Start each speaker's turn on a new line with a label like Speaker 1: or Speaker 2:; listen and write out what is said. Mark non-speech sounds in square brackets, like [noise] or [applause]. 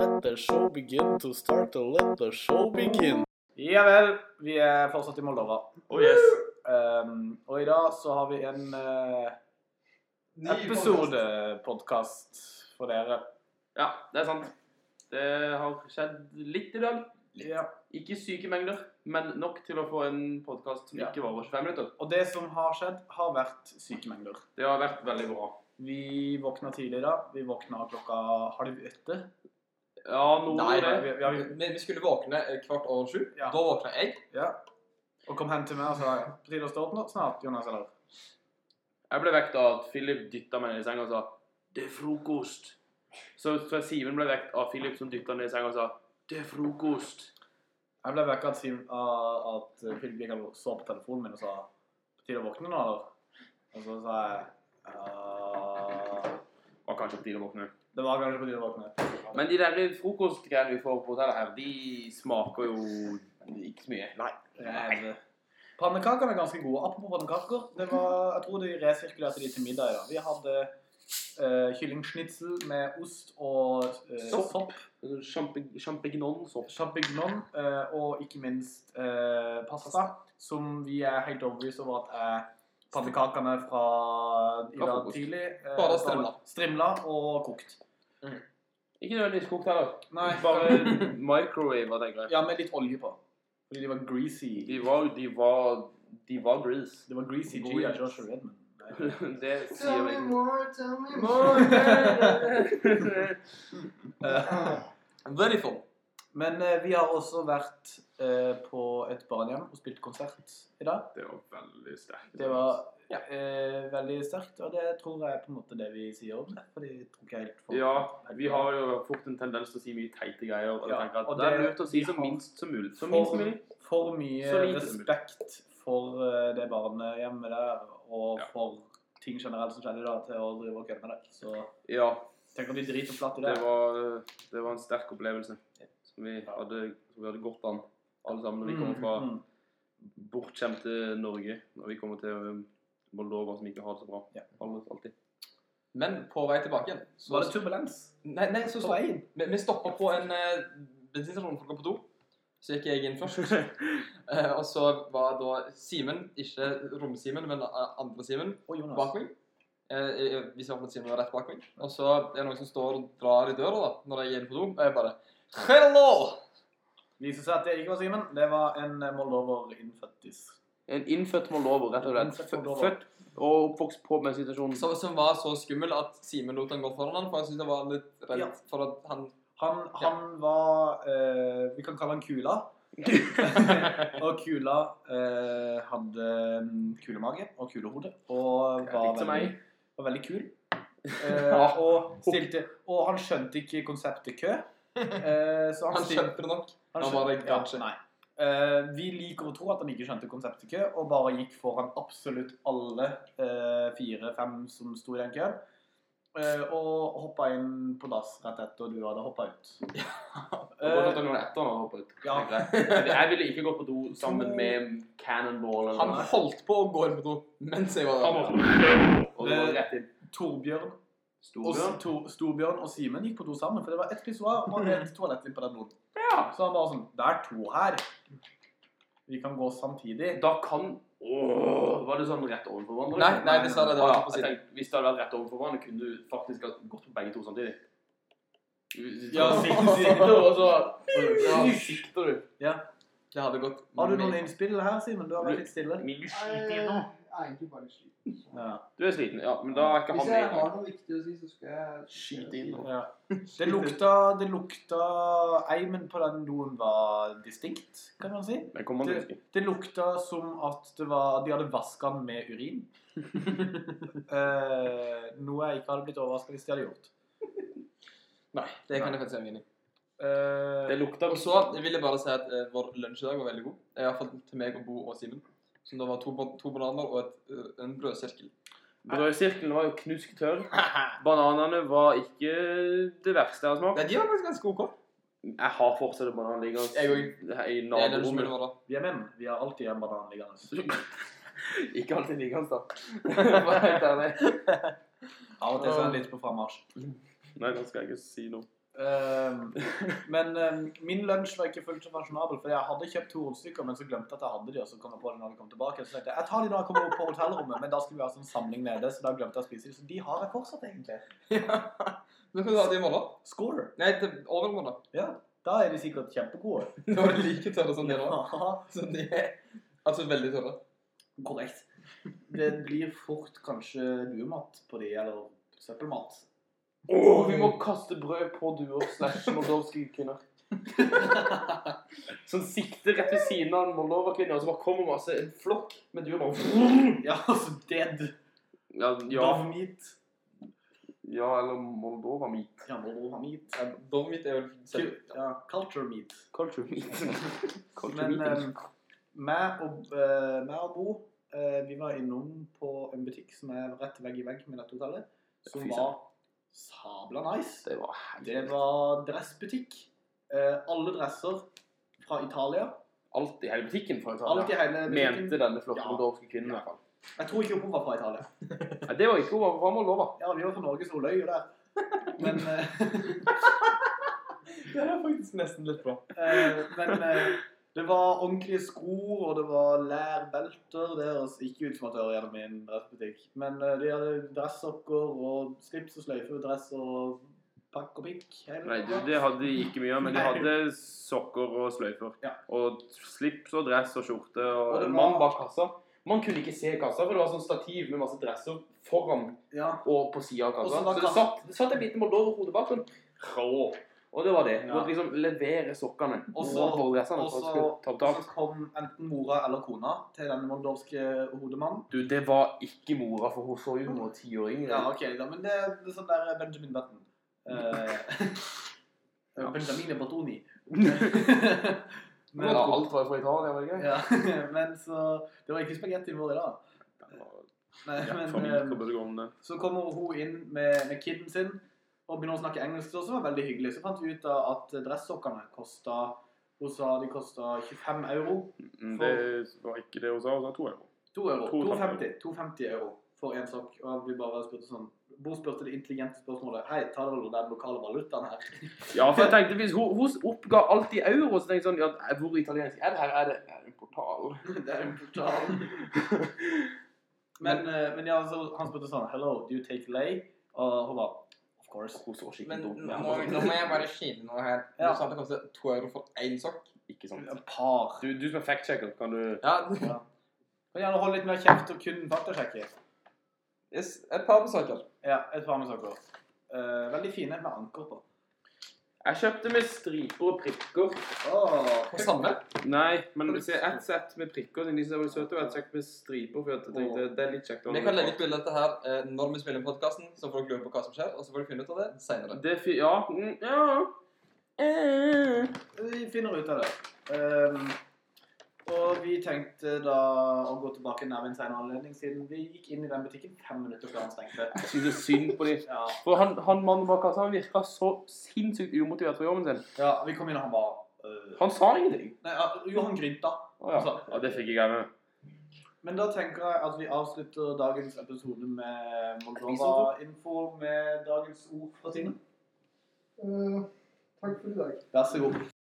Speaker 1: let the show begin to start the let the show begin.
Speaker 2: Ja vel, vi er fortsatt i Moldova.
Speaker 3: Oh yes.
Speaker 2: Ehm, og i dag så har vi en uh,
Speaker 3: Ny podcast.
Speaker 2: episodepodkast for dere.
Speaker 3: Ja, det er sant. Det har skjedd litt i dag.
Speaker 2: Ja.
Speaker 3: Ikke syke mengder, men nok til å få en podkast som
Speaker 2: Ja.
Speaker 3: ikke varer 25 minutter.
Speaker 2: Og det som har skjedd, har vært sykemengder.
Speaker 3: Det har vært veldig bra.
Speaker 2: Vi våkna tidlig i dag. Vi våkna klokka halv åtte.
Speaker 3: Ja, noe
Speaker 4: Nei,
Speaker 3: av det.
Speaker 2: vi, vi, vi,
Speaker 4: Vi, vi skulle våkne eh, kvart over sju.
Speaker 2: Ja.
Speaker 4: Da våkna jeg.
Speaker 2: ja. Og kom hen til meg og sa på tide å stå opp nå snart, Jonas. Eller?
Speaker 3: Jeg ble vekt av at Philip dytta meg ned i senga og sa 'Det er frokost'. Så tror jeg Simen ble vekt av Philip som dytta ned i senga og sa 'Det er frokost'.
Speaker 2: Jeg ble vekka av Siv- av at Philip gikk og så på telefonen min og sa på tide å våkne nå, eller? Og så sa jeg «Ja,
Speaker 3: Var kanskje på tide å våkne.
Speaker 2: Det var kanskje på tide å våkne.
Speaker 3: Men de der frokostgreiene vi får på hotellet her, de smaker jo ikke så mye. Nei.
Speaker 2: Jeg- Pannekakene er ganske gode. Apropos pannekaker. Det var, jeg tror de resirkulerte de til middag i dag. Vi hadde eh, kyllingsnitsel med ost og eh,
Speaker 3: Sopp.
Speaker 2: sopp.
Speaker 3: Champignon-sopp.
Speaker 2: Champignon eh, og ikke minst eh, pasta. Som vi er helt overbevist over at er pannekakene fra i
Speaker 3: Fra
Speaker 2: dag
Speaker 3: frokost.
Speaker 2: tidlig. eh,
Speaker 4: Bare strimla.
Speaker 2: Strimla og kokt.
Speaker 3: Ikke nødvendigvis kokt heller.
Speaker 2: Nei,
Speaker 3: Bare microwave, tenker jeg.
Speaker 2: Ja, med litt olje på. Fordi de var greasy.
Speaker 3: De var, de var, de var grease. [laughs]
Speaker 2: Det var greasy G
Speaker 3: Greasy.
Speaker 2: av Joshua
Speaker 3: [laughs]
Speaker 2: Redman. Nei.
Speaker 3: Det sier vi.
Speaker 4: more, tell me
Speaker 3: [laughs]
Speaker 2: Eh,
Speaker 4: Very fun.
Speaker 2: Men eh, vi har også vært eh, på et barnehjem og spilt konsert i dag.
Speaker 3: Det var veldig sterkt.
Speaker 2: Det var
Speaker 4: Ja.
Speaker 2: eh, veldig sterkt, og det tror jeg er på en måte det vi sier om det. Fordi jeg tror ikke helt folk
Speaker 3: Ja, vi har jo fort en tendens til å si mye teite greier. Og
Speaker 2: Ja,
Speaker 3: jeg tenker
Speaker 2: og
Speaker 3: at det er
Speaker 2: det-
Speaker 3: lurt å si
Speaker 2: vi
Speaker 3: så
Speaker 2: har-
Speaker 3: minst som mulig. Så
Speaker 2: for-
Speaker 3: minst som mulig.
Speaker 2: for mye
Speaker 3: Så lite som mulig.
Speaker 2: respekt for eh, det barnehjemmet der, og
Speaker 3: Ja.
Speaker 2: for ting generelt som skjedde i dag, til å drive og kødde med det. Så
Speaker 3: Ja,
Speaker 2: tenk at de driter flatt i det.
Speaker 3: det var, det var en sterk opplevelse. Som vi hadde, som vi hadde godt an, alle sammen, når vi kommer fra
Speaker 2: Mm, mm.
Speaker 3: bortskjemte Norge. Når vi kommer til um, Moldova, som ikke har det så bra.
Speaker 2: Ja.
Speaker 3: Alle- Alltid.
Speaker 4: Men på vei tilbake igjen så,
Speaker 2: Var det turbulens
Speaker 4: Nei, nei
Speaker 2: på
Speaker 4: så stopp.
Speaker 2: veien?
Speaker 4: Vi, vi stoppa på en eh, bensinstasjon klokka på to. Så gikk jeg
Speaker 2: [laughs]
Speaker 4: inn først. Eh, og så var da Simen, ikke Rom-Simen, men eh, andre Simen,
Speaker 2: Og Jonas.
Speaker 4: bak meg. Eh, jeg- hvis jeg har fått Simen var rett bak meg. Og så er det noen som står og drar i døra da, når jeg er inne på do. Og jeg bare Hello!
Speaker 2: viser seg at det ikke var Simen. Det var en eh, moldover innfødtis.
Speaker 3: En innfødt moldover, rett og slett.
Speaker 2: Innfødt
Speaker 3: Fø-
Speaker 2: moldover.
Speaker 3: Født og oppvokst på med situasjonen.
Speaker 4: Som, som var så skummel at Simen lot han gå foran han, for han syntes han var litt redd
Speaker 2: Ja.
Speaker 4: for at han
Speaker 2: Han, han var eh, Vi kan kalle han
Speaker 3: [laughs]
Speaker 2: Kula. og Kula eh, hadde mm, kulemage og kulehode. Og var
Speaker 3: Litt
Speaker 2: veldig,
Speaker 3: som meg.
Speaker 2: var veldig
Speaker 3: [laughs]
Speaker 2: kul. Eh,
Speaker 3: Ja.
Speaker 2: og, stilte, og han skjønte ikke konseptet
Speaker 3: [laughs]
Speaker 2: kø. Eh, så han,
Speaker 4: Han
Speaker 2: stilte,
Speaker 4: skjønte det nok.
Speaker 2: han
Speaker 4: han var
Speaker 2: skjønte-
Speaker 4: det
Speaker 2: ja,
Speaker 4: kanskje.
Speaker 2: nei. Eh, vi liker å tro at han ikke skjønte konseptet kø, og bare gikk foran absolutt alle eh, fire-fem som sto i den køen. eh, og hoppa inn på dass rett etter du hadde hoppa ut.
Speaker 3: [laughs] Og godt at
Speaker 2: Eh,
Speaker 3: han gjorde det etter han hadde hoppet ut.
Speaker 2: Ja.
Speaker 3: tenker Jeg Jeg ville ikke gått på do sammen med Cannonball eller
Speaker 4: Han
Speaker 3: noe.
Speaker 4: holdt på å gå inn på do mens jeg var
Speaker 3: Han
Speaker 4: der.
Speaker 3: var- Og det var rett inn.
Speaker 2: Torbjørn Eh, og,
Speaker 3: Storbjørn.
Speaker 2: Tor, Storbjørn og Simen gikk på do sammen, for det var ett pissoar og et toalett inn på den doen.
Speaker 3: Ja.
Speaker 2: Så han bare sånn Det er to her. Vi kan gå samtidig.
Speaker 3: Da kan Åh, Var det sånn rett overfor hverandre?
Speaker 4: Nei, nei, dessverre. Det
Speaker 3: Å
Speaker 4: var
Speaker 3: ja,
Speaker 4: ikke på
Speaker 3: jeg
Speaker 4: siden.
Speaker 3: tenkte, hvis det hadde vært rett overfor hverandre, kunne du faktisk ha gått på begge to samtidig. [laughs]
Speaker 2: Ja,
Speaker 3: så
Speaker 2: sikkert, sikkert.
Speaker 3: sikter du, og så ja, sikter du.
Speaker 4: Det hadde gått
Speaker 2: Har du noen
Speaker 4: mye.
Speaker 2: innspill her, Simen? Du har vært litt stille.
Speaker 3: Men du
Speaker 5: Jeg
Speaker 3: sliter
Speaker 5: jeg
Speaker 3: igjen nå.
Speaker 5: er egentlig bare sliten.
Speaker 2: Ja.
Speaker 3: Du er sliten, ja. Men da er ikke han
Speaker 5: Hvis
Speaker 3: med.
Speaker 5: jeg
Speaker 3: i
Speaker 5: har
Speaker 3: dag.
Speaker 5: noe viktig å si, så skal jeg
Speaker 3: Skyt inn nå.
Speaker 2: Ja. Det lukta, det lukta Eimen på den doen var distinkt, kan man si.
Speaker 3: Men kommer han til å huske.
Speaker 2: Det lukta som at det var, de hadde vaska den med urin. Eh, noe jeg ikke hadde blitt overraska hvis de hadde gjort.
Speaker 4: Nei, det kan jeg faktisk si meg enig i.
Speaker 2: Eh,
Speaker 3: Det lukter
Speaker 4: Og så vil jeg bare si at eh, vår lunsj i dag var veldig god. Iallfall til meg og Bo og Simen. Som da var to, ban- to bananer og et, eh, en brødsirkel.
Speaker 3: Brødsirkelen var jo knusk tørr. Bananene var ikke det verste jeg har smakt.
Speaker 4: Nei, de var faktisk ganske OK.
Speaker 3: Jeg har fortsatt en banan liggende
Speaker 4: Jeg
Speaker 3: i
Speaker 4: Det er lunsjen min
Speaker 3: naborommet.
Speaker 4: var
Speaker 2: [laughs]
Speaker 4: da.
Speaker 2: vi er menn. Vi har alltid en banan liggende.
Speaker 3: Ikke alltid liggende, da. Bare helt ærlig.
Speaker 2: Av og til så er den litt på frammarsj.
Speaker 3: Nei, nå skal jeg ikke si noe.
Speaker 2: Ehm, men ehm, min lunsj var ikke fullt så fasjonabel, for jeg hadde kjøpt to rundstykker, men så glemte jeg at jeg hadde de, og så kom jeg på det når de kom tilbake. Så tenkte jeg jeg tar de når jeg kommer opp på hotellrommet, men da skulle vi ha sånn samling nede, så da glemte jeg å spise de. Så de har jeg fortsatt, egentlig.
Speaker 4: Ja. Nå kan du ha det i morgen.
Speaker 2: Score!
Speaker 4: Nei, til overmorgen.
Speaker 2: Ja, da er de sikkert kjempegode.
Speaker 4: Det var like tørre som det nå.
Speaker 2: Ja,
Speaker 4: Så de er altså veldig tørre.
Speaker 2: [laughs] korrekt. Det blir fort kanskje duemat på de, eller søppelmat.
Speaker 3: Åh, vi må kaste brød på duer slash moldovske kvinner. Sånn sikte rett ved siden av en moldoverkvinne, og så bare kommer masse en flokk med duer bare
Speaker 2: Ja, [laughs] altså dead
Speaker 3: Ja, ja,
Speaker 2: dove meat.
Speaker 3: ja eller moldova meat.
Speaker 2: Ja, må ha meat.
Speaker 4: Ja, Dommen mitt er vel selv.
Speaker 2: Ja, culture meat.
Speaker 3: Culture meat. Culture
Speaker 2: Men
Speaker 3: meat.
Speaker 2: eh, meg og, eh, meg og Bo eh, vi var innom på en butikk som er rett vegg i vegg med dette hotellet, som
Speaker 3: Fy søren.
Speaker 2: var sabla nice.
Speaker 3: Det var
Speaker 2: Det
Speaker 3: helt
Speaker 2: var dressbutikk. Eh, alle dresser fra Italia.
Speaker 3: Alt i hele butikken, for å ta
Speaker 2: Alt i
Speaker 3: det.
Speaker 2: hele butikken.
Speaker 3: Mente denne flotte
Speaker 2: Ja.
Speaker 3: moldovske kvinnen, i hvert fall.
Speaker 2: Jeg tror ikke hun var fra Italia.
Speaker 3: Nei, det var ikke hun var fra Moldova.
Speaker 2: Ja, vi var fra Norge, så hun løy jo
Speaker 4: [laughs]
Speaker 2: der. Men, eh,
Speaker 4: Det er faktisk nesten litt bra.
Speaker 2: eh, men eh, det var ordentlige sko, og det var lærbelter. Det høres ikke ut som at det hører hjemme i en dressbutikk. Men eh, de hadde dresssokker og slips og sløyfe og dress og pakk og pikk. hele
Speaker 3: Nei,
Speaker 2: pakka.
Speaker 3: det hadde de ikke mye av, men de
Speaker 2: Nei.
Speaker 3: hadde sokker og sløyfer.
Speaker 2: Ja.
Speaker 3: Og slips og dress og skjorte. Og,
Speaker 2: Og det
Speaker 3: en
Speaker 2: var-
Speaker 3: mann bak kassa. Man kunne ikke se kassa, for det var sånn stativ med masse dresser foran
Speaker 2: Ja.
Speaker 3: og på sida av
Speaker 2: Og
Speaker 3: kassa.
Speaker 2: så var
Speaker 3: Så det
Speaker 2: kassa-
Speaker 3: satt, det satt en liten moldover hodet bak sånn. Rå. Og det var det. Du
Speaker 2: Ja.
Speaker 3: måtte liksom levere sokkene
Speaker 2: Og så-
Speaker 3: over på
Speaker 4: Sånn
Speaker 3: dressene
Speaker 2: Og
Speaker 3: for å
Speaker 2: så
Speaker 3: skulle ta
Speaker 2: og så
Speaker 3: betalt.
Speaker 2: kom enten mora eller kona til den moldovske hodemannen.
Speaker 3: Du, det var ikke mora, for hun så jo noe tiår yngre.
Speaker 2: Ja, ok, da, men det er sånn der Benjamin Button. Eh, [laughs]
Speaker 3: Ja.
Speaker 2: Benjamin
Speaker 3: [laughs]
Speaker 2: Bertoni.
Speaker 3: Men
Speaker 2: Men-
Speaker 3: alt var jo fra Italia, var det ikke?
Speaker 2: Ja, [laughs] men så Det var ikke spagetti vår i dag. Nei,
Speaker 3: Ja,
Speaker 2: men,
Speaker 3: familie,
Speaker 2: eh,
Speaker 3: hva burde gå om det?
Speaker 2: så kommer hun inn med, med kiden sin og begynner å snakke engelsk, som var veldig hyggelig. Så fant vi ut av at dressokkene kosta Hun sa de kosta 25 euro.
Speaker 3: Mm, Det var ikke det hun sa. Hun sa to euro.
Speaker 2: 2 euro. 2,50
Speaker 3: 2,50.
Speaker 2: 2,50 euro for én sokk. Og vi bare spurte sånn Bo spurte det intelligente spørsmålet Hei, ta det vel den lokale valutaen her?
Speaker 3: Ja, for jeg tenkte hvis hun, hun oppga alt i euro, så tenkte jeg sånn ja, Hvor italiensk er det her? Er det, er det en portal?
Speaker 2: Det er jo brutalt. Men, eh, men ja, så han spurte sånn Hello, do you take lay? Og hun var Of course.
Speaker 3: Hun så skikkelig
Speaker 4: Men
Speaker 3: dum
Speaker 4: nå,
Speaker 3: ut.
Speaker 4: nå må jeg bare skille noe her. Du
Speaker 2: Ja.
Speaker 4: sa at det kostet to euro for én sokk.
Speaker 3: Ikke sant.
Speaker 2: Et par.
Speaker 3: Du, du som er fact-checker, kan du
Speaker 4: Ja,
Speaker 2: Kan gjerne holde litt mer kjeft og kun faktasjekke.
Speaker 4: yes, et par på sokker.
Speaker 2: Ja, et par med sokker. Eh, veldig fine med anker på.
Speaker 3: Jeg kjøpte med striper og prikker.
Speaker 4: På samme.
Speaker 3: Nei, men se, ett sett med prikker. De som var søte, og ett sett med striper. For jeg tenkte det er litt kjekt. å ha
Speaker 4: Vi kan
Speaker 3: noe
Speaker 4: legge ut bilde av dette her eh, når vi spiller inn podkasten, så folk lurer på hva som skjer, og så får de finne ut av det seinere.
Speaker 3: Det er fi... Ja. Mm, ja. Eh.
Speaker 2: Vi finner ut av det. Ehm, og vi tenkte da å gå tilbake nær ved en senere anledning, siden vi gikk inn i den butikken fem minutter før han stengte.
Speaker 3: Jeg synes det er synd på dem.
Speaker 2: Ja,
Speaker 3: For han, han mannen bak kassa han virka så sinnssykt umotivert for jobben sin.
Speaker 2: ja vi kom inn, og han var eh,
Speaker 3: Han sa ingenting.
Speaker 2: Nei, ja, jo, han grynta.
Speaker 3: Å ja. ja. Det fikk ikke jeg med meg.
Speaker 2: Men da tenker jeg at vi avslutter dagens episode med Moldova-info med dagens ord fra Simen.
Speaker 5: Eh, takk for i dag.
Speaker 2: Vær så god.